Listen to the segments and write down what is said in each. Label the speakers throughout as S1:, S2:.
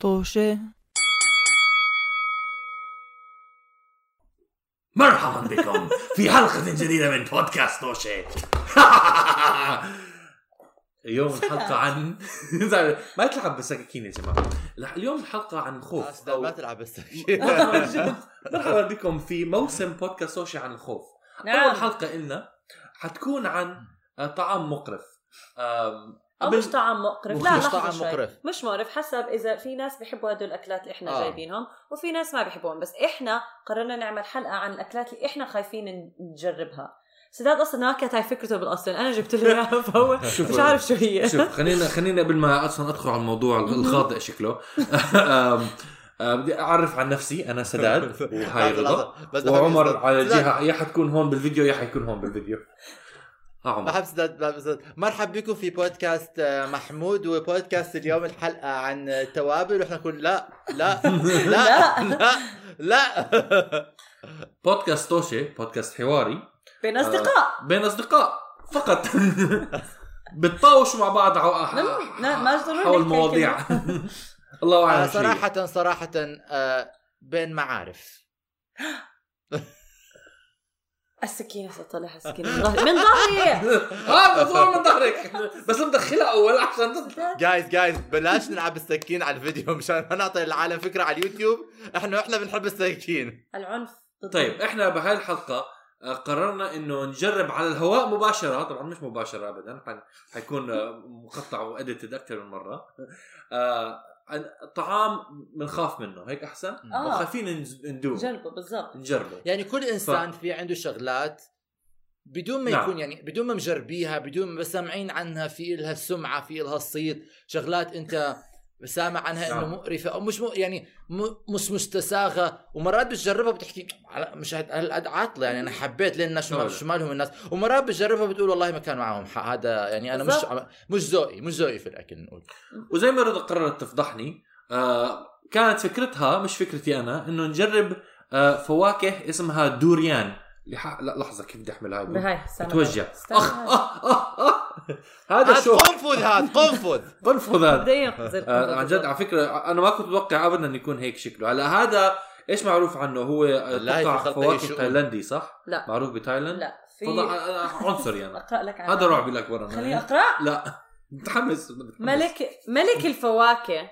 S1: طوشة
S2: مرحبا بكم في حلقة جديدة من بودكاست توشي اليوم الحلقة عن ما تلعب بالسكاكين يا جماعة لا، اليوم الحلقة عن
S3: خلاص
S2: الخوف
S3: لا، ما
S2: أو-
S3: تلعب بس
S2: مرحبا بكم في موسم بودكاست توشي عن الخوف أول
S4: نعم
S2: حلقة إلنا حتكون عن آه، طعام مقرف آم،
S4: او
S2: قبل-
S4: مش طعام مقرف
S2: مش
S4: لا لحظة
S3: طعم
S4: شوي.
S3: مقرف
S4: مش مقرف حسب اذا في ناس بيحبوا هدول الاكلات اللي احنا
S3: آه.
S4: آه. جايبينهم وفي ناس ما بيحبوهم بس احنا قررنا نعمل حلقه عن الاكلات اللي احنا خايفين نجربها سداد اصلا ما كانت هاي فكرته بالاصل انا جبت له اياها فهو
S2: شوف
S4: مش عارف شو هي
S2: شوف خلينا خلينا قبل ما اصلا ادخل على الموضوع الخاطئ شكله آم، آم، بدي اعرف عن نفسي انا سداد وهاي
S3: لحظة،
S2: رضا
S3: لحظة. بس بحب
S2: وعمر
S3: سداد.
S2: على
S3: سداد،
S2: الجهه يا حتكون هون بالفيديو يا حيكون هون بالفيديو اه عمر
S3: بحب سداد بحب سداد مرحبا بكم في بودكاست آه، محمود وبودكاست اليوم الحلقة عن التوابل واحنا نقول لا لا لا لا لا
S2: بودكاست توشي بودكاست حواري آه.
S4: بين اصدقاء
S2: بين اصدقاء فقط بتطاوشوا مع بعض عو...
S4: ما- ما- ما ضروري
S2: حول
S4: نحكي
S2: مواضيع الله
S3: آه،
S2: اعلم شيء
S3: صراحة صراحة آه، بين معارف
S4: السكينه سطلعها السكينه من ظهري من ظهري
S2: اه بتصور من ظهرك بس مدخلها اول احسن تطلع
S3: جايز جايز بلاش نلعب السكين على الفيديو مشان ما نعطي العالم فكرة على اليوتيوب احنا احنا بنحب السكين
S4: العنف ضد
S2: طيب احنا بهاي الحلقه آه، قررنا انه نجرب على الهواء مباشره طبعا مش مباشره ابدا حن- حيكون آه، مقطع واديتد اكثر من مره آه، عن- طعام بنخاف منه هيك احسن
S3: آه.
S4: اه
S2: وخايفين نز- ندوه
S4: جربوا بالضبط
S2: نجربه
S3: يعني كل انسان في عنده شغلات بدون ما
S2: نعم.
S3: يكون يعني بدون ما مجربيها بدون ما سامعين عنها في لها السمعه في لها الصيت شغلات انت سامع عنها انه
S2: نعم.
S3: مقرفه او مش م... يعني م... مش مستساغه ومرات بتجربها بتحكي على مش هاد- هالقد عاطله يعني انا حبيت لان شو
S2: طبعاً.
S3: مال- شو مالهم الناس ومرات بتجربها بتقول والله ما كان معهم حق هذا يعني انا مش
S4: بالضبط.
S3: عم- مش ذوقي مش ذوقي في الاكل نقول
S2: وزي ما رضا قررت تفضحني آه، كانت فكرتها مش فكرتي انا انه نجرب آه، فواكه اسمها دوريان لح... لا لحظه كيف بدي احمل هاي
S4: بهاي استنى.
S2: توجع
S4: استنى.
S2: اخ اخ اخ اخ هذا
S3: هذا
S2: شو
S3: قنفذ هذا قنفذ
S2: قنفذ هذا
S4: بدي انقذك
S2: آه، عن جد على فكره انا ما كنت متوقع ابدا انه يكون هيك شكله هلا هذا ايش معروف عنه هو آه،
S3: والله في
S2: قطع
S3: خلطة
S2: فواكه
S3: شؤون.
S2: تايلندي صح
S4: لا
S2: معروف بتايلاند
S4: لا في
S2: تفضل آه، آه، عنصري انا
S4: اقرا لك عنه
S2: هذا رعبي الاكبر
S4: خليني
S2: انا
S4: اقرا
S2: يعني. لا متحمس متحمس.
S4: ملك ملك الفواكه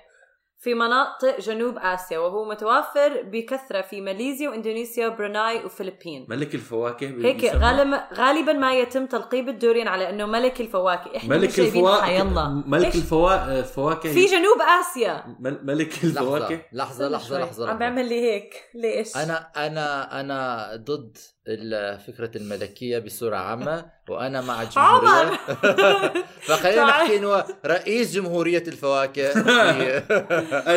S4: في مناطق جنوب اسيا وهو متوافر بكثره في ماليزيا واندونيسيا وبروناي وفلبين
S2: ملك الفواكه
S4: هيك
S2: بيسمى-
S4: غالبا غالبا ما يتم تلقيب الدورين على انه ملك الفواكه احنا
S2: ملك
S4: مش جايبين
S2: الفواكه
S4: يلا
S2: ملك
S4: إيش؟
S2: الفوا- الفواكه
S4: في جنوب اسيا
S2: مل- ملك
S3: لحظه
S2: الفواكه
S3: لحظه لحظه
S4: شوي.
S3: لحظه
S4: عم بعمل لي هيك ليش؟
S3: انا انا انا ضد ال- فكره الملكيه بصوره عامه وانا مع الجمهوريه
S4: عمر
S3: فخلينا
S4: تعال.
S3: نحكي انه رئيس جمهوريه الفواكه جنوب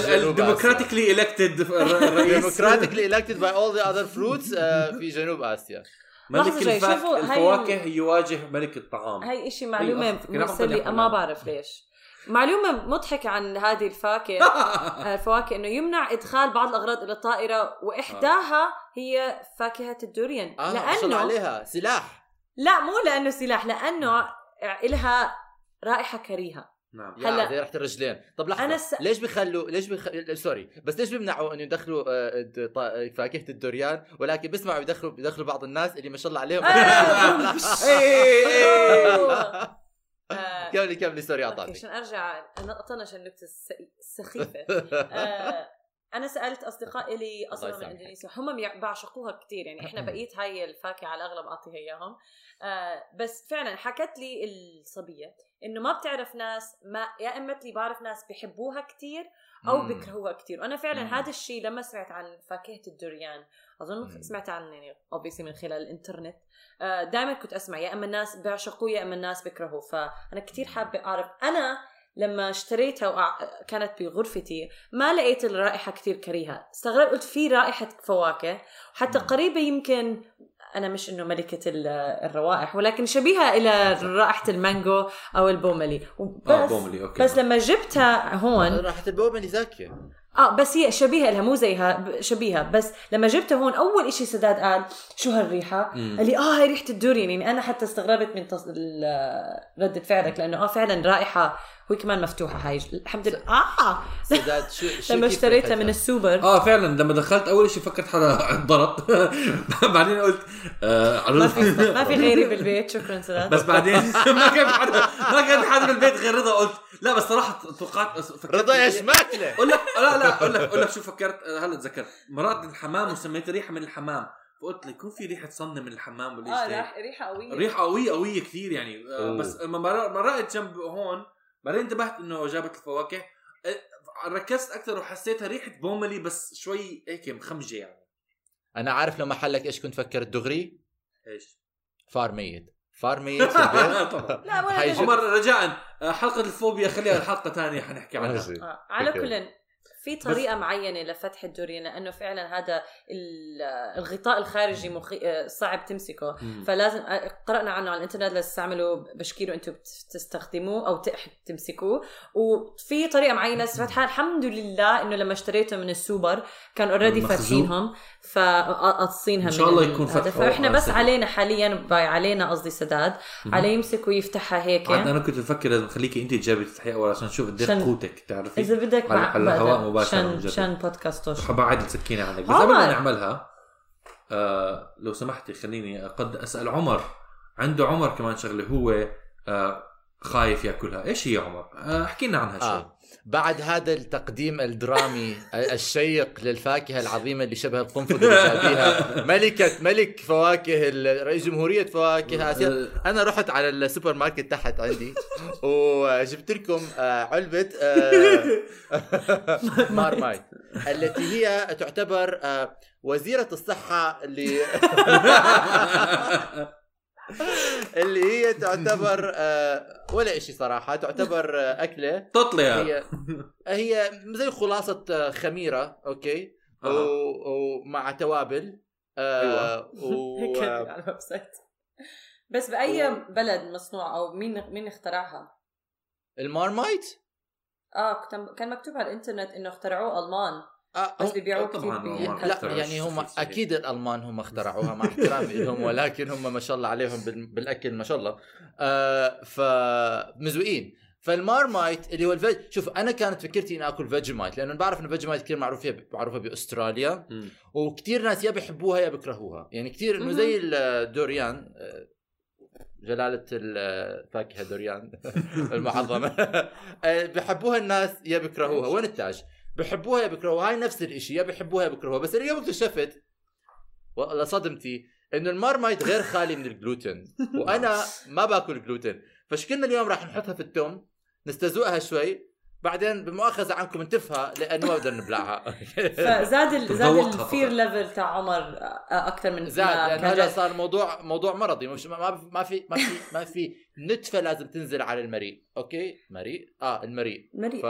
S3: آسيا.
S2: الديمقراطيكلي الكتد الرئيس
S3: ديموكراتيكلي elected by all the other fruits آه، في جنوب اسيا
S2: ملك
S4: لحظة شوي،
S2: الفاك-
S4: شوفوا هاي ال-
S2: الفواكه يواجه ملك الطعام
S4: هاي اشي
S2: أيوة،
S4: معلومه
S2: أخ، كلام
S4: مسلية
S2: مقتنع
S4: ما
S2: بالله.
S4: بعرف ليش معلومه مضحكه عن هذه الفاكهه الفواكه انه آه، يمنع ادخال بعض الاغراض الى الطائره واحداها هي فاكهه الدوريان
S3: اه ما شاء الله
S4: لانه
S3: عليها سلاح
S4: لا مو لانه سلاح لانه إلها رائحه كريهه
S2: نعم
S3: يا
S4: هلا.
S3: هلا ريحه الرجلين طب لحظه
S4: أنا
S3: أنا
S4: س-
S3: س... ليش بخلوا ليش بخ... سوري بس ليش بيمنعوا انه يدخلوا آه، د- طا- فاكهه الدوريان ولكن بسمعوا يدخلوا يدخلوا بعض الناس اللي ما شاء الله عليهم
S4: آه، إيه، آه،
S3: كملي كملي سوري
S4: أوكي،
S3: اعطاني
S4: عشان ارجع انا اطنش النكته الس- السخيفه آه، انا سالت اصدقائي اللي اصلا من
S3: يسامحك.
S4: اندونيسيا هم بيع- بعشقوها كثير يعني احنا بقيت هاي الفاكهه على الاغلب اعطيها اياهم آه، بس فعلا حكت لي الصبيه انه ما بتعرف ناس ما يا اما لي بعرف ناس بحبوها كثير او
S3: مم.
S4: بكرهوها كثير وانا فعلا
S3: مم.
S4: هذا الشيء لما سمعت عن فاكهه الدوريان اظن
S3: مم.
S4: سمعت عن يعني اوبسي من خلال الانترنت دائما كنت اسمع يا اما الناس بيعشقوه يا اما الناس بيكرهوه فانا كثير حابه اعرف انا لما اشتريتها وأع- كانت بغرفتي ما لقيت الرائحه كثير كريهه استغربت قلت في رائحه فواكه حتى قريبه يمكن انا مش انه ملكه ال- الروائح ولكن شبيهه الى رائحه المانجو او البوملي
S2: اه
S3: آه،
S4: وبس
S2: بوملي اوكي
S4: بس لما جبتها هون
S3: راحت البومه اللي زاكيه
S4: اه بس هي شبيهه لها مو زيها ب- شبيهه بس لما جبتها هون اول إشي سداد قال شو هالريحه؟
S2: مم.
S4: قال لي اه هاي ريحه الدوريان يعني انا حتى استغربت من تص... ال- رده فعلك لانه اه فعلا رائحه وهي كمان مفتوحه هاي الحمد لله اه
S3: سداد شو شو
S4: لما
S3: كيف
S4: اشتريتها
S3: ريحتها؟
S4: من السوبر
S2: اه فعلا لما دخلت اول شيء فكرت حدا انضرب بعدين قلت آه على
S4: ما في ما في غيري بالبيت شكرا سداد
S2: بس بعدين ما كان في حدا ما كان في حدا بالبيت غير رضا قلت لا بس صراحه توقعت فكرت
S3: رضا يا شماكله
S2: اقول لك لا لا اقول لك اقول لك شو فكرت آه، هلا تذكرت مرات الحمام وسميت ريحه من الحمام فقلت لي يكون في ريحه صنه من الحمام ولا
S4: اه
S2: إيش هيك.
S4: راح- ريحه قويه
S2: ريحه قويه قويه كثير يعني آه،
S3: أوه.
S2: بس لما مر- مرقت جنب هون بعدين انتبهت انه جابت الفواكه آه، ركزت اكثر وحسيتها ريحه بوملي بس شوي هيك مخمجه يعني
S3: انا عارف لو محلك ايش كنت فكرت دغري
S2: ايش
S3: فار ميت فار ميت في البيت.
S2: طبعا
S4: لا ولا
S3: حيجي-
S4: دجاج.
S2: عمر رجاء آه، حلقه الفوبيا خليها الحلقه ثانيه حنحكي عنها
S3: ماشي.
S4: آه، على
S3: أوكي.
S4: كل في طريقه معينه لفتح الدوريان لانه فعلا هذا ال- الغطاء الخارجي مخي... آه، صعب تمسكه
S2: مم.
S4: فلازم قرانا عنه على الانترنت لتستعملوه بشكيره انتم بتستخدموه او تح- تمسكوه وفي طريقه معينه فتحها الحمد لله انه لما اشتريته من السوبر كان اوريدي
S2: المخزون.
S4: فاتحينهم فقاصينها
S2: إن شاء الله
S4: من
S2: يكون
S4: هذا.
S2: فتحوا
S4: فاحنا بس
S2: قاصين.
S4: علينا حاليا باي علينا قصدي سداد
S2: مم.
S4: عليه يمسك ويفتحها هيك
S2: عاد انا كنت بفكر لازم خليكي انت تجاوبي تفتحي اول عشان نشوف قديش
S4: عشان-
S2: قوتك تعرفي
S4: اذا بدك
S2: على-
S4: مع
S2: على الهواء
S4: بعدها.
S2: مباشرة
S4: شان
S2: بنجرب.
S4: شان بودكاست
S2: بعد السكينة عنك بس
S4: عمر.
S2: قبل ما نعملها آه لو سمحتي خليني قد أسأل عمر عنده عمر كمان شغلة هو آه خايف ياكلها ايش هي عمر آه، احكي لنا عنها شوي آه.
S3: آه. بعد هذا التقديم الدرامي الشيق للفاكهه العظيمه اللي شبه القنفذ اللي جابيها ملكه ملك فواكه ال- رئيس جمهوريه فواكه اسيا انا رحت على السوبر ماركت تحت عندي وجبت لكم آه، علبه
S2: آه.
S3: آه، مارمايت التي هي تعتبر آه، وزيره الصحه اللي اللي هي تعتبر آه، ولا شيء صراحه تعتبر آه، اكله
S2: تطلع
S3: هي هي زي خلاصة آه، خميرة اوكي و...
S2: أها.
S3: ومع توابل آه
S4: هيك
S3: و...
S4: على الويب سايت بس باي بلد مصنوع او مين مين اخترعها؟
S3: المارمايت
S4: اه كان كان مكتوب على الانترنت انه اخترعوه المان
S3: آه
S4: بس
S3: هم...
S4: بيبيعوه
S2: طبعاً
S4: كثير
S2: ألمان.
S4: بي-
S3: لا يعني هم
S2: اخترعوا شيء.
S3: اكيد الالمان هم اخترعوها مع احترامي لهم ولكن هم ما شاء الله عليهم بال... بالاكل ما شاء الله آه فمزوقين فالمارمايت اللي هو الفج شوف انا كانت فكرتي اني اكل فيجمايت لانه بعرف انه فيجمايت كثير معروف فيها- معروفه باستراليا
S2: مم.
S3: وكتير ناس يا بيحبوها يا بيكرهوها يعني كتير انه زي الدوريان آه، جلالة الفاكهة دوريان المعظمة آه، بيحبوها الناس يا بيكرهوها وين التاج بيحبوها يا بيكرهوها هاي نفس الاشي يا بيحبوها يا بيكرهوها بس اليوم اكتشفت لصدمتي انه المارمايت غير خالي من الجلوتين وانا ما باكل جلوتين فشكلنا اليوم راح نحطها في التوم نستذوقها شوي بعدين بمؤاخذة عنكم نتفها لانه ما بدنا نبلعها إيه.
S4: فزاد ال... زاد
S2: بتذوقها
S4: الفير
S2: فقط.
S4: ليفل تاع عمر اكثر من ما
S3: زاد لان
S4: نعم، كان
S3: هذا
S4: جاي.
S3: صار موضوع موضوع مرضي مش ما ما- ما في ما في ما في نتفه لازم تنزل على المريء اوكي مريء اه المريء
S4: مريء
S3: ف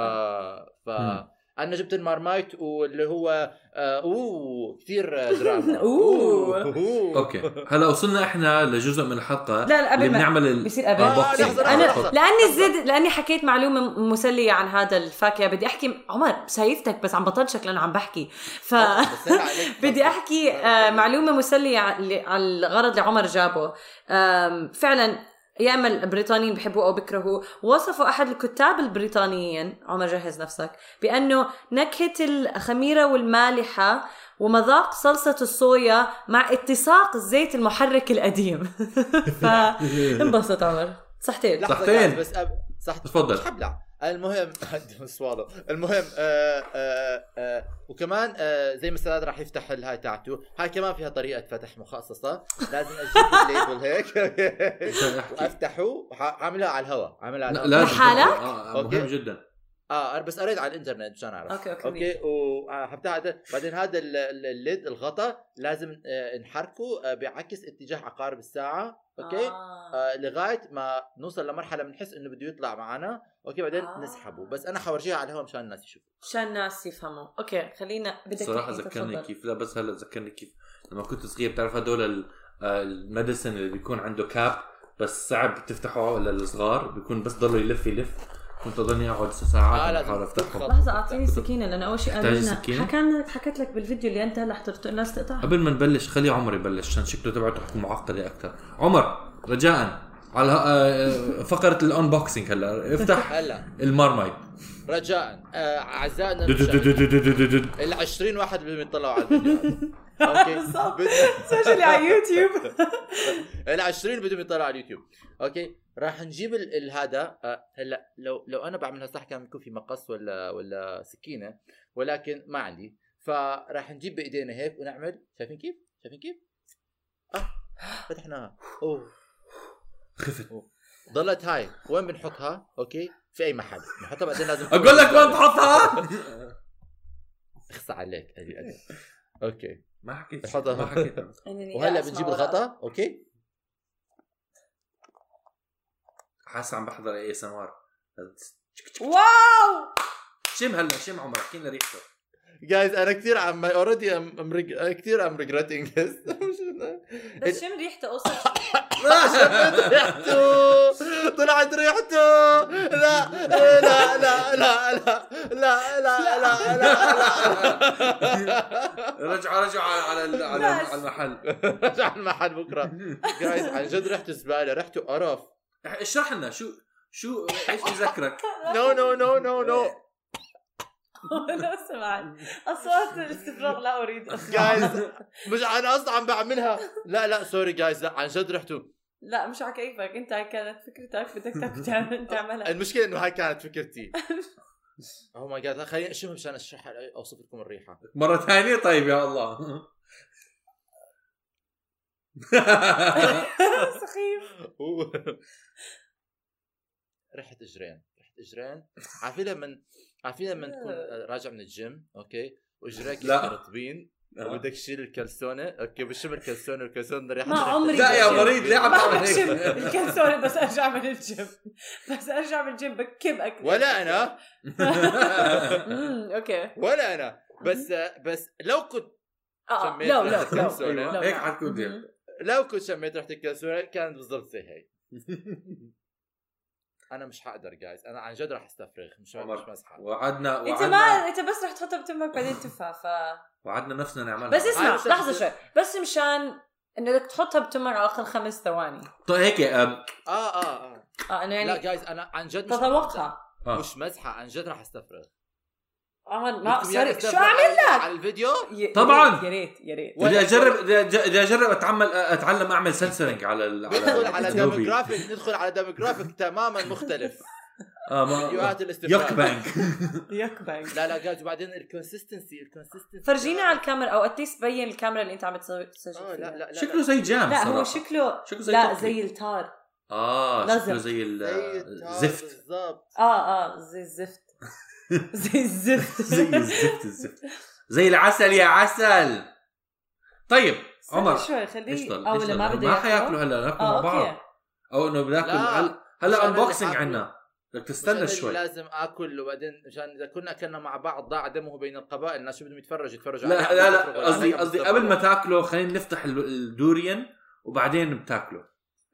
S3: ف
S2: مم.
S3: انا جبت المارمايت واللي هو آه اوه كثير دراما
S4: أوه.
S3: أوه.
S2: اوكي هلا وصلنا احنا لجزء من الحلقه
S4: لا لا
S2: اللي
S4: قبل ما
S2: بنعمل ال...
S4: بصير قبل
S2: آه،
S3: آه،
S2: بوكسينج.
S3: لحظة، لحظة،
S4: انا
S3: لحظة.
S4: لاني زد لاني حكيت معلومه م- مسليه عن هذا الفاكهه بدي احكي عمر سايفتك بس عم بطنشك لانه عم بحكي ف
S3: آه، بس أنا عليك.
S4: بدي احكي آه، معلومه مسليه على على الغرض اللي عمر جابه آم، فعلا يا اما البريطانيين بحبوه او بكرهوه وصفوا احد الكتاب البريطانيين عمر جهز نفسك بانه نكهه الخميره والمالحه ومذاق صلصة الصويا مع اتساق الزيت المحرك القديم فانبسط عمر صحتين
S3: لحظة
S2: صحتين.
S3: قاعد بس أب... صح
S2: تفضل.
S3: مش حبلع المهم سوالو المهم آه آه آه وكمان آه زي ما سداد راح يفتح الهاي تاعته هاي كمان فيها طريقه فتح مخصصه لازم اجيب الليبل هيك
S2: عشان أحكي.
S3: وافتحه وح- عاملها على الهواء عاملها على
S2: لا،
S3: الهواء
S2: لازم
S4: لحالك؟
S2: آه، آه، مهم
S3: أوكي.
S2: جدا
S3: اه بس قريت على الانترنت مشان اعرف
S4: اوكي اوكي, أوكي.
S3: اوكي وحبتها هذا بعدين هذا ال- ال- الليد الغطا لازم آه، نحركه آه، بعكس اتجاه عقارب الساعه اوكي
S4: آه.
S3: آه، لغايه ما نوصل لمرحله بنحس انه بده يطلع معنا اوكي بعدين
S4: آه.
S3: آه. نسحبه بس انا حورجيها على الهواء مشان الناس يشوفوا
S4: عشان الناس يفهموا اوكي خلينا بدك
S2: صراحه
S4: تحكي،
S2: ذكرني
S4: تفضل.
S2: كيف لا بس هلا ذكرني كيف لما كنت صغير بتعرف هدول ال- آه، المدسن اللي بيكون عنده كاب بس صعب تفتحه للصغار بيكون بس ضله يلف يلف كنت اظني اقعد ساعات
S3: آه،
S2: آه
S3: لازم
S2: احاول افتحهم
S3: تدخل.
S4: لحظه اعطيني السكينه لان اول شيء
S2: تحتاج
S4: قالوا
S2: السكينة؟
S4: لنا حكينا حكيت لك بالفيديو اللي انت هلا حضرته الناس تقطع
S2: قبل ما نبلش خلي عمر يبلش عشان شكله تبعته حتكون معقده اكثر عمر رجاء على آه، فقره الانبوكسينج هلا افتح
S3: هلا
S2: المارمايت
S3: رجاء آه، اعزائنا
S2: دو- دو- دو-
S3: المشاهدين،
S2: دو- دو- دو- دو- دو.
S3: ال 20 واحد اللي بيطلعوا على الفيديو هذا. اوكي
S4: بالضبط.
S3: بد-
S4: سجلي على يوتيوب
S3: ال 20 بدهم يطلعوا على اليوتيوب اوكي راح نجيب ال- ال- هذا آه، هلا لو لو انا بعملها صح كان بيكون في مقص ولا ولا سكينه ولكن ما عندي فراح نجيب بايدينا هيك ونعمل شايفين كيف؟ شايفين كيف؟ اه فتحناها اوه
S2: خفت
S3: ضلت هاي وين بنحطها؟ اوكي في اي محل بنحطها بعدين لازم
S2: اقول لك وين تحطها
S3: اخصى عليك أجي أجي. اوكي
S2: ما حكيت
S3: حطها.
S2: ما حكيت
S3: وهلا بنجيب الغطاء اوكي
S2: حاسس عم بحضر اي اس ام ار
S4: واو
S2: شم هلا شم عمر احكي لنا ريحته
S3: جايز انا كثير عم اوريدي ام كثير ام ريجريتنج إيه.
S4: بس شم ريحته اوصل
S3: ريحته طلعت ريحته لا لا لا لا لا لا لا لا لا
S2: رجعوا رجعوا على على على,
S4: بس.
S2: على المحل
S3: رجع المحل بكره جايز عن جد ريحته زباله ريحته قرف
S2: اشرح لنا شو شو ايش بذكرك؟
S3: نو نو نو نو نو
S4: لا سمعت اصوات الاستفراغ لا اريد
S3: جايز مش انا اصلا عم بعملها لا لا سوري جايز لا عن جد ريحته
S4: لا مش على كيفك انت هاي كانت فكرتك بدك تاك- تعمل- تعملها
S3: المشكله انه هاي كانت فكرتي Oh او ماي جاد خليني اشمها مشان اشرح اوصف لكم الريحه
S2: مرة ثانية طيب يا الله
S4: سخيف
S3: ريحه اجرين ريحه اجرين عارفين لما عارفين لما تكون
S4: آه.
S3: راجع من الجيم اوكي واجريك
S2: لا. آه.
S3: رطبين وبدك تشيل الكلسونه اوكي بشم الكلسونه والكلسونه ريحه
S4: ما عمري
S2: لا يا
S4: بشم.
S2: مريض ليه عم
S4: ما
S2: تعمل
S4: بشم
S2: هيك؟
S4: الكلسون بس ارجع من الجيم بس ارجع من الجيم بكب اكل
S3: ولا انا
S4: أمم، اوكي
S3: ولا انا بس آه، بس لو كنت
S4: اه
S3: شميت
S4: لا
S3: ريحة
S4: لا لا
S3: الكلسون.
S4: لا.
S2: هيك حتكون دير.
S3: لو كنت شميت ريحه الكلسونه كانت بالضبط زي هي انا مش حقدر جايز انا عن جد راح استفرغ مش
S2: عمر.
S3: مش مزحه
S2: وعدنا
S4: انت ما
S2: وعدنا
S4: انت بس رح تحطها بتمك بعدين تفها ف
S2: وعدنا نفسنا نعملها
S4: بس اسمع
S3: عارف-
S4: لحظه شوي بس مشان انه بدك تحطها بتمك على الاقل خمس ثواني
S2: طيب هيك أم،
S3: اه اه اه
S4: اه انه
S3: لا
S4: يعني
S3: جايز انا عن جد مش
S4: تذوقها
S2: آه.
S3: مش مزحه عن جد راح استفرغ
S4: عمر ما
S3: بدكم إياني
S4: سوري آه، شو
S3: أستفرغ
S4: اعمل
S3: على- على الفيديو
S4: يا-
S2: طبعاً.
S4: يا ريت يا ريت
S2: بدي
S3: ولا-
S2: اجرب بدي أج- بدي آه، اجرب اتعمل اتعلم اعمل سلسلنج على ال-
S3: ندخل على
S2: الجوبي.
S3: ديموغرافيك ندخل على ديموغرافيك تماما مختلف
S2: اه ما
S3: فيديوهات
S2: يوك
S3: الاستفراغ
S2: بانك
S4: يكبر
S3: لا لا جايز وبعدين الكونسستنسي الكونسستنسي
S4: فرجينا على الكاميرا او اتليست بين الكاميرا اللي انت عم تسوي تسجل
S3: اه لا
S4: فيها.
S3: لا لا
S2: شكله زي جام
S4: لا هو
S2: صراحة.
S4: شكله
S2: شكله زي
S4: لا
S2: توكي.
S4: زي التار
S2: اه
S4: لازم.
S2: شكله زي
S3: زي التار
S2: الزفت
S3: بالضبط
S4: اه اه زي الزفت زي الزفت
S2: زي الزفت الزفت زي العسل يا عسل طيب
S4: استنى
S2: عمر
S4: شوي خليه
S2: اشتغل
S4: او لما بده
S2: ما
S4: ياكله.
S2: حياكلوا هلا ناكل مع
S4: اه
S2: بعض
S4: اوكي
S2: او انه بناكل
S3: لا.
S2: هلا
S3: مش
S2: هلا
S3: أنا اللي
S2: انبوكسنج
S3: حاكله.
S2: عنا بدك
S3: مش أنا
S2: تستنى
S3: اللي
S2: شوي
S3: لازم اكل وبعدين مشان اذا كنا اكلنا مع بعض ضاع دمه بين القبائل الناس شو بدهم يتفرجوا يتفرجوا
S2: لا
S3: علينا،
S2: لا
S3: يتفرجوا
S2: لا قصدي
S3: علينا
S2: قصدي
S3: بالضبط.
S2: قبل ما تاكله خلينا نفتح ال- الدوريان وبعدين بتاكله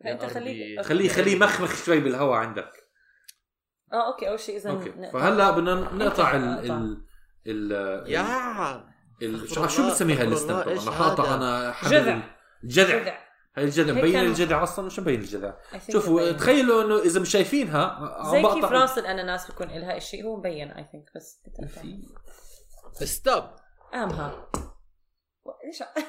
S3: يا
S4: انت خليك
S3: ربي.
S2: خليه خليه مخمخ شوي بالهواء عندك
S4: اه اوكي اول شيء اذا
S2: اوكي
S4: نقطع.
S2: فهلا بدنا نقطع ال
S4: نقطع.
S2: ال ال-
S3: يا
S2: ال-
S3: أخبر
S2: شو
S3: الله،
S2: بتسميها
S3: أخبر
S2: اللستة
S3: الله، إيش
S2: انا حاطه
S3: هذا؟
S2: انا
S4: جذع.
S2: حبل الجذع
S4: جذع.
S2: هاي الجذع
S4: هيك
S2: مبين
S4: كان-
S2: الجذع اصلا مش مبين الجذع
S4: I think
S2: شوفوا
S4: مبين.
S2: تخيلوا انه اذا مش شايفينها عم
S4: زي كيف
S2: بقطع-
S4: راس الاناناس بكون لها شيء هو مبين اي ثينك بس أنت بتعرف.
S3: ستوب
S4: امها و- ليش ع-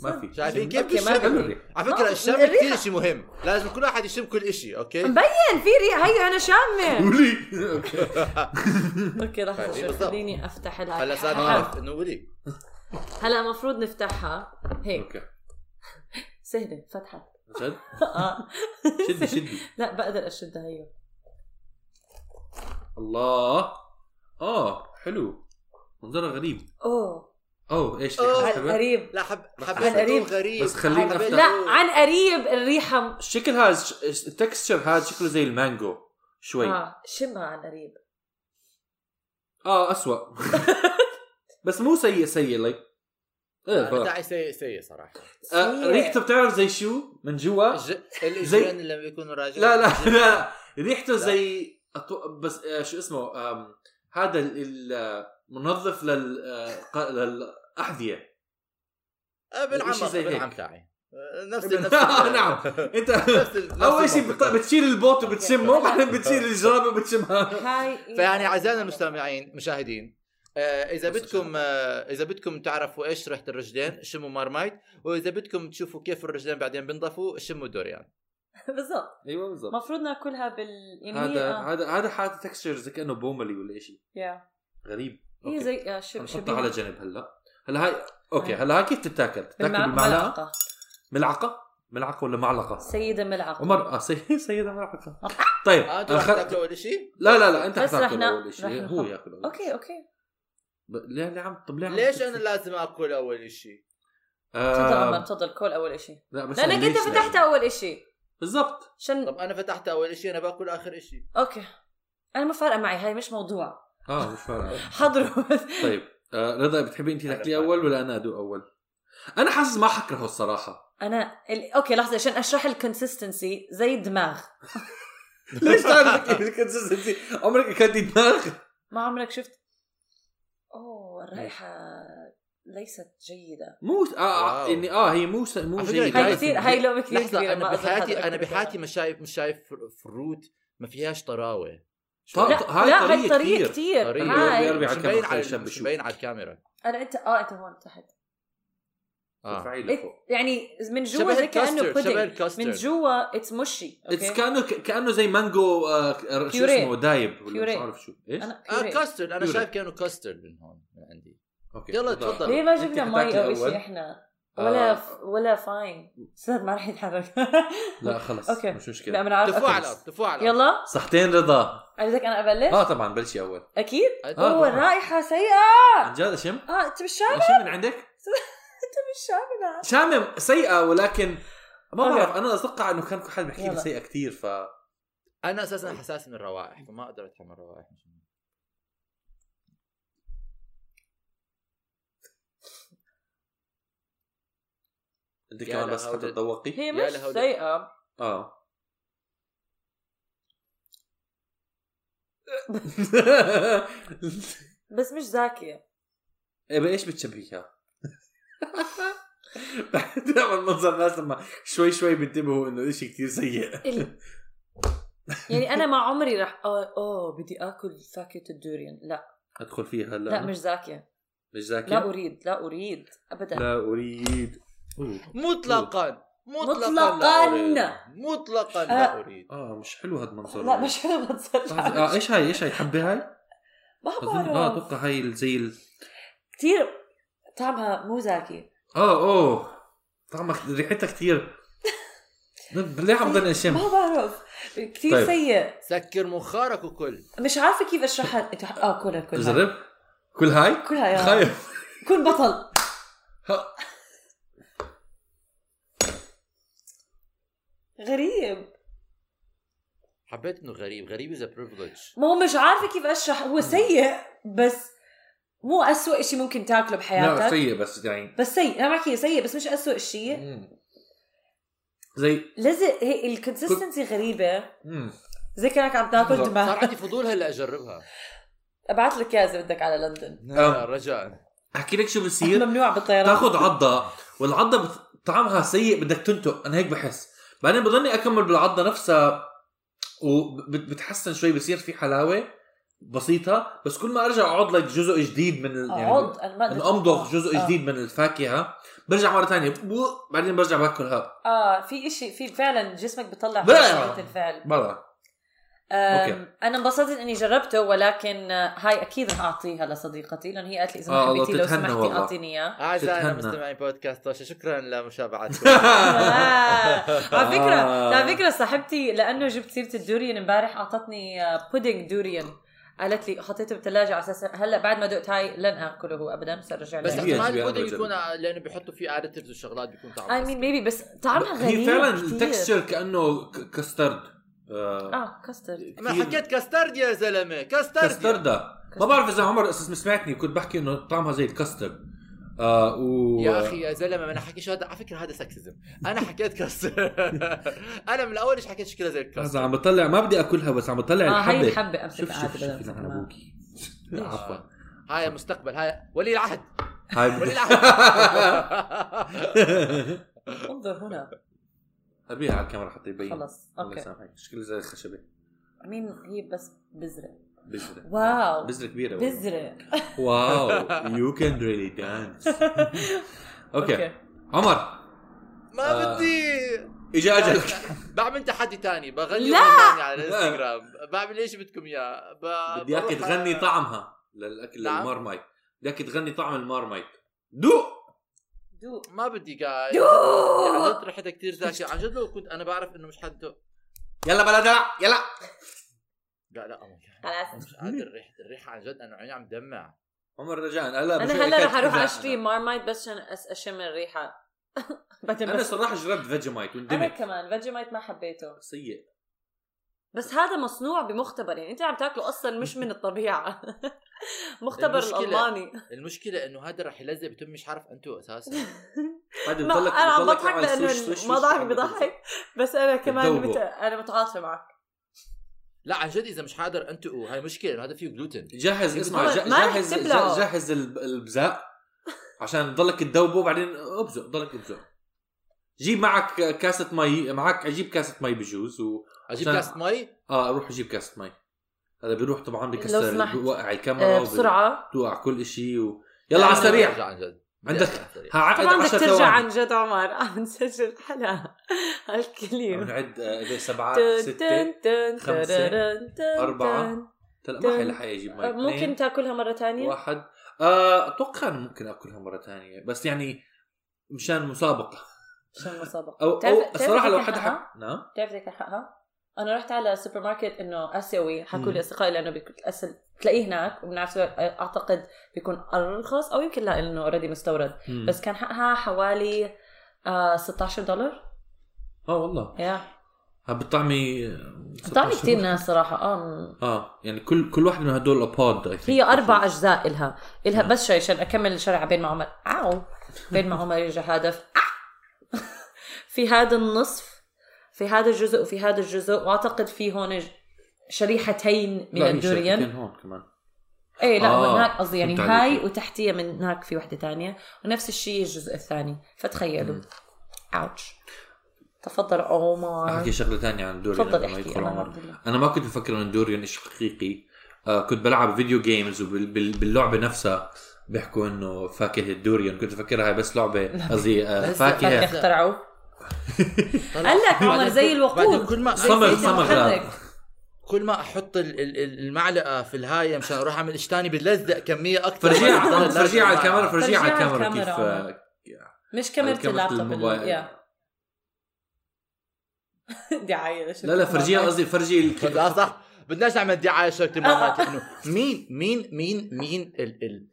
S2: ما في
S3: شايفين كيف
S4: أوكي، ما
S3: بالشكل؟
S2: حلو الريح.
S3: على
S4: ما
S3: فكره
S4: هو
S3: الشم
S4: الريحة.
S3: كثير شيء مهم لازم كل واحد يشم كل شيء اوكي
S4: مبين في ريحه هي انا شامه
S2: قولي اوكي
S4: اوكي لحظه شوي
S3: طيب، بالضبط.
S4: خليني افتح لها
S3: هلا صار
S2: آه.
S3: عارف انه ولي
S4: هلا المفروض نفتحها هيك
S2: اوكي
S4: سهله فتحت
S2: جد
S4: آه.
S2: شدي شدي
S4: لا بقدر أيوه. اشدها هي
S2: الله اه حلو منظرها غريب
S4: اوه
S2: اوه ايش
S3: أوه.
S2: ريحة
S4: عن
S2: حلوة؟
S4: قريب
S3: لا حب
S4: عن
S3: حبيت
S4: قريب.
S3: أقول غريب
S2: بس خلينا
S3: حبيت
S2: نفتح.
S4: لا
S3: أقول.
S4: عن قريب الريحه
S2: شكل هذا ش- التكستشر هذا شكله زي المانجو شوي اه,
S4: اه شمها عن قريب
S2: آه اسوء بس مو سيء سيء إيه، لايك
S3: أنا داعي سيء سيء صراحه
S4: سيء.
S2: آه، ريحته بتعرف زي شو من جوا
S3: الج- الاجرين اللي لما بيكونوا راجعين
S2: لا لا لا ريحته
S3: لا.
S2: زي أتو... بس آه، شو اسمه آم، هذا ال- ال- المنظف لل آه، ق- للاحذيه
S3: آه، بالعم
S2: شيء زي هيك.
S3: بالعم تاعي آه، نفس
S2: ابن-
S3: نفس
S2: آه، نعم. انت
S3: نفس ال- نفس
S2: اول شيء
S3: المنطقة.
S2: بت- بتشيل البوت وبتشمه بعدين بتشيل الجرابه وبتشمها
S4: هاي إيه.
S3: فيعني اعزائنا المستمعين مشاهدين آه، اذا
S2: بس
S3: بدكم آه، اذا بدكم تعرفوا ايش ريحه الرجلين شموا مارمايت واذا بدكم تشوفوا كيف الرجلين بعدين بنضفوا شموا دوريان
S4: بالضبط
S2: ايوه بالضبط
S4: المفروض ناكلها بال يعني هي
S2: هذا
S4: آه.
S2: هذا هذا حاطط تكستشر زي كانه بوملي ولا شيء
S4: يا.
S2: غريب
S4: هي
S2: أوكي.
S4: زي آه، شب-
S2: نحطها
S4: شبيهة
S2: على جنب هلا هلا هاي اوكي هلا هاي كيف تتاكل؟ تتاكل
S4: بالمع-
S2: بالمعلقه؟
S4: ملعقة
S2: ملعقه؟ ملعقه ولا معلقه؟
S4: آه، سيدة ملعقة
S2: عمر اه سي- سيدة ملعقه طيب
S3: اه انتوا رح
S2: الخ...
S3: تاكلوا اول شيء
S2: لا لا لا انت
S4: آه، بس رح
S2: حتاكل
S4: نا-
S2: اول
S4: رح
S2: شيء
S4: نحط.
S2: هو ياكل أول شيء.
S4: اوكي اوكي
S2: ب... ليه ليه عم طب ليه عم
S3: ليش انا لازم اكل اول شيء
S4: تفضل
S2: آه...
S4: عمر تفضل كل اول اشي
S2: لا بس يعني؟
S4: لانك انت فتحتها اول اشي
S2: بالضبط
S4: عشان
S3: طب انا فتحت اول شيء انا باكل اخر شيء
S4: اوكي انا ما فارقه معي هاي مش موضوع
S2: اه مش فارقه
S4: حضروا
S2: طيب آه رضا بتحبي انت
S3: أنا
S2: تاكلي
S3: فاهم.
S2: اول ولا انا ادوق اول؟ انا حاسس ما حكرهه الصراحه
S4: انا ال... اوكي لحظه عشان اشرح الكونسستنسي زي الدماغ
S2: ليش تعرف الكونسستنسي عمرك اكلتي دماغ؟
S4: ما عمرك شفت اوه الرائحه ليست جيده
S2: مو آه
S3: واو.
S2: اني اه هي مو س... مو
S3: على فكرة
S2: جيدة.
S4: هاي
S3: جايز
S4: كثير
S3: تكون-
S4: هاي لومه كثير
S3: لحظه
S4: كبيره ما
S3: انا
S4: أظن
S3: بحياتي
S4: حدا
S3: انا
S4: بيحبها.
S3: بحياتي مش شايف مش شايف فر- فروت ما فيهاش طراوه
S2: طب-
S4: لا
S2: طب هاي
S4: لا هاي
S2: طرية
S4: طريقه
S2: كتير.
S4: كثير
S3: طريقه
S2: بيربي على
S4: هاي
S3: مش
S2: الكاميرا
S3: مبين
S2: خلي
S3: على
S2: الشاب
S3: مش
S2: يشوف.
S3: مبين على الكاميرا
S4: انا انت اه انت هون تحت
S3: اه
S2: ارفعي لفوق.
S4: إت- يعني من جوا
S3: شبه
S4: زي كانه
S3: الكاسترد شبه
S4: بودينج من
S3: الكاسترد
S4: جوا اتس مشي
S2: اتس
S4: اوكي
S2: كانه كانه زي مانجو آه شو
S4: بيوريه.
S2: اسمه دايب ولا مش
S4: بيوريه.
S2: عارف شو ايش؟
S4: انا
S3: اه
S4: كوري.
S3: كاسترد انا
S2: يوري.
S3: شايف كانه كاسترد من هون من عندي
S2: اوكي
S3: يلا
S2: تفضل.
S3: تفضل.
S4: ليه ما
S2: أنت
S4: جبنا
S2: حتاكلي
S4: مي او شيء
S2: أول.
S4: احنا
S2: آه.
S4: ولا ف... ولا فاين استاذ ما راح يتحرك
S2: لا خلص
S4: آه، أوكي.
S2: مش
S4: لا
S2: مشكله
S4: بنعرف
S3: تفوا على الارض تفوا على الارض
S4: يلا
S2: صحتين رضا
S4: بدك انا ابلش
S2: اه طبعا بلشي اول
S4: اكيد
S2: آه،
S4: اوه
S2: طبعاً.
S4: الرائحه سيئه
S2: عن جد اشم
S4: اه انت مش شامم
S2: اشم من عندك
S4: مش شامم
S2: شامم سيئه ولكن ما
S4: أوكي.
S2: بعرف انا اتوقع انه كان حد بيحكي لي
S4: يلا.
S2: سيئه كثير ف
S3: انا اساسا حساس من الروائح فما اقدر اتحمل الروائح
S2: انت
S3: يا
S2: كمان بس
S3: لهول.
S2: حتى تذوقي
S4: هي
S3: يا
S4: مش
S3: لهول.
S4: سيئه
S2: اه
S4: بس مش زاكيه
S2: إيه، بايش بتشبهيها؟ دائما منظر الناس لما شوي شوي بينتبهوا انه شيء كثير سيء
S4: ال- يعني انا ما عمري راح اوه, أوه بدي اكل فاكهه الدوريان لا
S2: ادخل فيها هلا
S4: لا, مش زاكيه
S2: مش ذاكر
S4: لا اريد لا اريد ابدا
S2: لا اريد أوه.
S3: مطلقا مطلقا
S4: مطلقاً. آه.
S3: لا أريد. مطلقا لا اريد
S2: اه مش حلو هذا المنظر
S4: لا مش حلو منظر
S2: لحظة، اه ايش هاي ايش هاي حبه هاي؟
S4: ما
S2: اظن اه
S4: بعرف
S2: اتوقع هاي ال- زي ال...
S4: كثير طعمها مو زاكي
S2: اه اوه طعمها كت- ريحتها كثير ليه عم ضل اشم؟
S4: ما بعرف كثير
S2: طيب.
S4: طيب. سيء
S3: سكر مخارك وكل
S4: مش عارفه كيف اشرحها انت اه كلها كلها
S2: جرب كل هاي؟
S4: كلها يا
S2: خايف
S4: كن بطل
S2: ها.
S4: غريب
S3: حبيت انه غريب غريب از بريفليج
S4: ما هو مش عارفه كيف اشرح هو سيء بس مو أسوأ شيء ممكن تاكله
S2: لا
S4: بحياتك
S2: سيء بس يعني
S4: بس سيء انا بحكي سيء بس مش أسوأ شيء
S2: مم. زي
S4: لزق هي الكونسستنسي غريبه
S2: مم.
S4: زي كانك عم تاكل
S2: بالضبط.
S4: دماغ
S3: صار عندي فضول هلا اجربها
S4: ابعث لك اياها اذا بدك على لندن
S3: آه، رجاء
S2: احكي لك شو بصير
S4: ممنوع بالطيران
S2: تاخذ عضه والعضه بت- طعمها سيء بدك تنتق انا هيك بحس بعدين بضلني اكمل بالعضه نفسها وبتحسن شوي بصير في حلاوه بسيطه بس كل ما ارجع اعض لك جزء جديد من ال- يعني
S4: عض انا آه، ما
S2: من
S4: قدرت-
S2: امضغ جزء
S4: آه.
S2: جديد من الفاكهه برجع مره ثانيه بعدين برجع باكلها
S4: اه في إشي في فعلا جسمك بيطلع
S2: بلا.
S4: رده الفعل
S2: برا
S4: أم،
S2: أوكي.
S4: انا انبسطت اني جربته ولكن آه، هاي اكيد رح اعطيها لصديقتي لان هي قالت لي اذا
S2: آه،
S4: ما
S2: الله
S4: حبيتي لو
S2: تتهنى
S4: سمحتي
S2: والله.
S4: اعطيني اياه
S3: اعزائي
S2: تتهنى.
S3: مستمعين بودكاست طوشه شكرا لمشابعتكم
S4: آه، على فكره
S2: آه.
S4: على فكره صاحبتي لانه جبت سيره الدوريان امبارح اعطتني آه، بودينج دوريان قالت لي حطيته بالثلاجه على اساس هلا بعد ما دقت هاي لن اكله هو ابدا بس ارجع
S3: بس
S2: هي
S4: له
S3: احتمال
S2: جميلة
S3: البودنج
S2: جداً.
S3: يكون لانه بيحطوا فيه اديتيفز وشغلات بيكون طعمه
S4: اي مين ميبي بس طعمها غريب
S2: هي فعلا
S4: كتير.
S2: التكستشر كانه ك- كاسترد آه،
S4: اه كاسترد
S3: ما
S2: كتير-
S3: حكيت كاسترد يا زلمه كاسترد
S2: كاستردا ما بعرف اذا عمر اساس سمعتني كنت بحكي انه طعمها زي الكاسترد آه و...
S3: يا اخي يا زلمه ما انا حكي شو هذا على فكره هذا سكسزم انا حكيت كرس انا من الاول ايش حكيت شكلها زي الكرس
S2: لحظة عم بطلع ما بدي اكلها بس عم بطلع
S4: اه هاي
S2: الحبة
S4: الحبه امسك
S2: يعني شوف شوف شوف
S4: عادة
S2: أنا على
S4: بدل
S2: ابوكي
S3: ليش؟
S2: عفوا
S3: هاي مستقبل هاي ولي العهد
S2: هاي
S3: ولي
S2: بدي-
S3: العهد
S4: انظر هنا
S2: ابيها على الكاميرا حتى يبين
S4: خلص
S2: طيب. الله
S4: اوكي
S2: يسامحك شكلها زي الخشبة
S4: مين هي بس بزرة
S2: بذرة
S4: واو.
S2: بذرة كبيرة والله.
S4: بزرة
S2: واو يو كان ريلي دانس اوكي
S4: اوكي
S2: عمر
S3: ما بدي
S2: اجى اجلك
S3: بعمل تحدي تاني بغني
S4: لا.
S3: أغنية تانية على الانستغرام بعمل ايش بدكم اياه ب-
S2: بدي اياك
S3: بروح- آه،
S2: تغني طعمها للاكل
S3: نعم.
S2: للمارمايك بدي اياك تغني طعم المارمايك دوق
S4: دو
S3: ما بدي جاي يعني عن
S4: دو
S3: جد ريحتها كثير زاكية عن جد لو كنت انا بعرف انه مش حد
S2: يلا بلا دلع يلا
S3: لا لا أوه.
S4: خلاص
S3: مش قادر ريحة الريحة عن جد انا عيني عم دمع
S2: عمر رجاء هلا
S4: انا
S2: بشوفك
S4: هلا رح
S2: كيف
S4: اروح
S2: إذا
S4: اشتري
S2: أنا-
S4: مارمايت بس عشان أس- اشم الريحه بعدين
S2: انا
S4: بس
S2: صراحه جربت فيجيمايت
S4: انا
S2: وندمت
S4: كمان فيجيمايت ما حبيته
S2: سيء
S4: بس هذا مصنوع بمختبر يعني انت عم تاكله اصلا مش من الطبيعه مختبر
S3: المشكلة-
S4: الالماني
S3: المشكلة انه هذا رح يلزق بتم مش عارف انتو اساسا
S2: هذا
S4: ما
S2: بضلك-
S4: انا عم
S2: بضلك
S4: بضحك
S2: عمل
S4: لانه
S2: سويش- سويش- سويش
S4: الموضوع
S2: عم
S4: بضحك بس انا كمان
S2: بتذوبه.
S4: مت... انا متعاطفه معك
S3: لا عن جد اذا مش حاضر انتو هاي مشكلة إنه هذا فيه جلوتين
S2: جهز اسمع
S4: ما-
S2: ج-
S4: إيه، ما رح
S2: جهز
S4: تبلعه.
S2: ج- جهز الب- البزاق عشان تضلك تدوبه وبعدين ابزق ضلك ابزق جيب معك كاسة مي معك جيب كاسة مي بجوز و
S3: اجيب
S2: عشان-
S3: كاسة مي
S2: اه روح جيب كاسة مي هذا بيروح طبعا
S4: لو
S2: بكسر
S4: سمحت.
S2: بيوقع الكاميرا
S4: آه، بسرعه
S2: بتوقع كل شيء و... يلا على السريع
S3: عن جد
S2: عندك هعقد
S4: طبعا بدك
S2: 10
S4: ترجع
S2: ثواني
S4: عن جد عمر عم نسجل حلقه هالكليم
S2: بنعد آه، إذا سبعة
S4: تن-
S2: ستة
S4: تن- تن-
S2: خمسة،
S4: تررن- تن-
S2: أربعة،
S4: تن.
S2: تلا ما
S4: تن-
S2: حيلحق يجيب مي
S4: آه، ممكن
S2: اثنين،
S4: تاكلها مره تانية
S2: واحد آه، اتوقع انه ممكن اكلها مره ثانيه بس يعني مشان مسابقه
S4: عشان مسابقه
S2: او
S4: بتعرف-
S2: او
S4: بتعرف
S2: الصراحه لو
S4: كيف
S2: حدا
S4: نحقها؟
S2: حب نعم
S4: بتعرف بدك تلحقها؟ انا رحت على سوبر ماركت انه اسيوي حكوا
S2: مم.
S4: لي اصدقائي لانه بيكون أسل... تلاقيه هناك وبنفس الوقت اعتقد بيكون ارخص او يمكن لا لانه اوريدي مستورد بس كان حقها حوالي آه 16 دولار
S2: اه والله
S4: يا
S2: ها بالطعمي
S4: طعم كثير ناس صراحه اه مم.
S2: اه يعني كل كل واحد من هدول اباد I think.
S4: هي اربع اجزاء الها الها
S2: آه.
S4: بس شيء عشان اكمل الشرع بين ما عمر عاو بين ما عمر يرجع هذا ف- آه. في هذا النصف في هذا الجزء وفي هذا الجزء واعتقد في هون ج- شريحتين من
S2: لا، هي
S4: الدوريان
S2: شركتين هون كمان
S4: ايه لا
S2: آه،
S4: آه هناك قصدي يعني
S2: فهمت
S4: هاي
S2: عليك.
S4: وتحتيها من هناك في وحده تانية ونفس الشيء الجزء الثاني فتخيلوا
S2: مم.
S4: اوتش تفضل عمر
S2: احكي شغله ثانيه عن دوريان
S4: آه. تفضل
S2: قبل ما
S4: احكي
S2: يدخل
S4: انا ما
S2: عمر
S4: بدي لا.
S2: انا ما كنت مفكر ان دوريان شيء حقيقي آه كنت بلعب فيديو جيمز وباللعبه نفسها بيحكوا انه فاكهه الدوريان كنت افكرها هاي بس لعبه قصدي آه
S3: بس
S4: فاكهه
S2: فاكهه
S3: فاكهة.
S4: اخترعوه قال لك عمر زي الوقود
S3: كل ما
S4: زي-
S2: صمغ-
S4: زي
S2: صمغ
S4: المحرك.
S3: كل ما احط ال- ال- ال- المعلقه في الهاي مشان اروح اعمل ايش تاني بتلزق كميه اكثر
S2: فرجيها عن- فرجيها على الكاميرا
S4: فرجيها
S2: فرجيها على
S4: على
S2: الكاميرا كيف
S4: الكاميرا،
S2: آه،
S4: مش كاميرا
S2: كاميرا
S4: اللابتوب
S2: الموبايل.
S4: ال- يا. دعايه لشركة
S2: لا لا فرجيها
S4: مارك.
S2: قصدي فرجي ال-
S3: لا صح بدناش نعمل دعايه شركه
S4: آه.
S3: المرات انه مين مين مين مين ال ال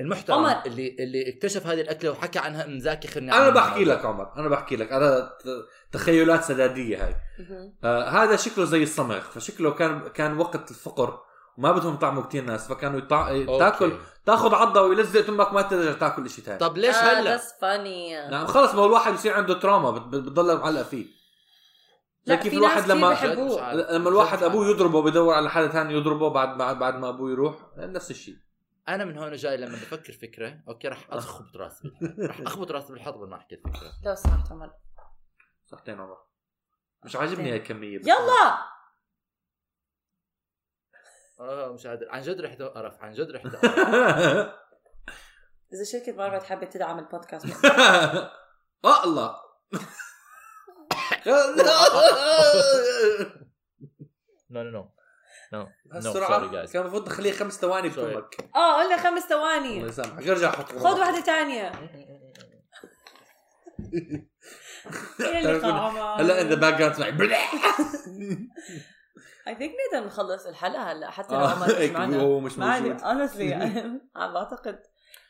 S3: المحترم
S4: عمر.
S3: اللي اللي اكتشف هذه الاكله وحكى عنها ام زاكي خلني
S2: انا بحكي لك عمر انا بحكي لك انا ت- تخيلات سداديه هاي
S4: مهم.
S2: آه هذا شكله زي الصمغ فشكله كان كان وقت الفقر وما بدهم طعموا كتير ناس فكانوا يطع... تاكل تاخذ عضه ويلزق تمك ما تقدر تاكل شيء ثاني
S3: طب ليش
S4: آه،
S3: هلا
S4: that's funny.
S2: نعم خلص ما هو الواحد بصير عنده تراما بت- بت- بتضل معلقه فيه
S4: لا
S2: زي كيف
S4: في
S2: الواحد
S4: ناس كثير
S2: لما-
S4: بحبوه
S2: لما الواحد ابوه يضربه بدور على حدا ثاني يضربه بعد بعد بعد ما ابوه يروح نفس الشيء
S3: انا من هون جاي لما بفكر فكره اوكي رح اخبط راسي رح اخبط راسي بالحيط قبل ما احكي الفكره
S4: لو سمحت عمر
S2: صحتين عمر مش عاجبني هاي الكميه بس-
S4: يلا
S3: اه مش قادر عن جد رحت قرف عن جد رحت قرف
S4: اذا شركه مارفل حابه تدعم البودكاست
S2: اه الله
S3: نو نو نو نو
S2: هالسرعة كان المفروض تخليه خمس ثواني بتمك
S4: اه قلنا خمس
S2: الله
S4: ثواني
S2: يسامحك ارجع حط
S4: خذ واحدة تانية إلى اللقاء عمر
S2: هلا ان ذا باك جراوند تبعي
S4: I think نقدر نخلص الحلقة هلا حتى لو
S2: آه،
S4: عمر مش
S2: هيك
S4: معنا
S2: هو مش
S4: ما عندي
S2: موجود
S4: honestly عم بعتقد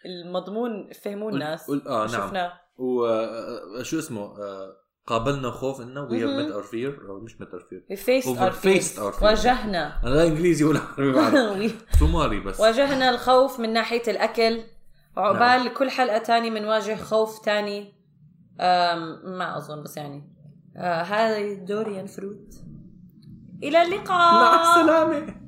S4: المضمون فهموه الناس
S2: قل- اه نعم
S4: شفنا
S2: وشو اسمه آه، قابلنا خوفنا وي هاف
S4: مهم.
S2: ميت اور فير او آه، مش ميت اور فير
S4: we faced our
S2: Overfaced our
S4: fears
S2: fears. نعم.
S4: واجهنا
S2: انا لا انجليزي ولا عربي بعرف
S4: We-
S2: سومالي بس
S4: واجهنا الخوف من ناحية الأكل
S2: نعم.
S4: وعقبال كل حلقه تاني بنواجه خوف تاني أم، ما اظن بس يعني آه، هاي دوريان فروت الى اللقاء
S2: نعم. مع السلامه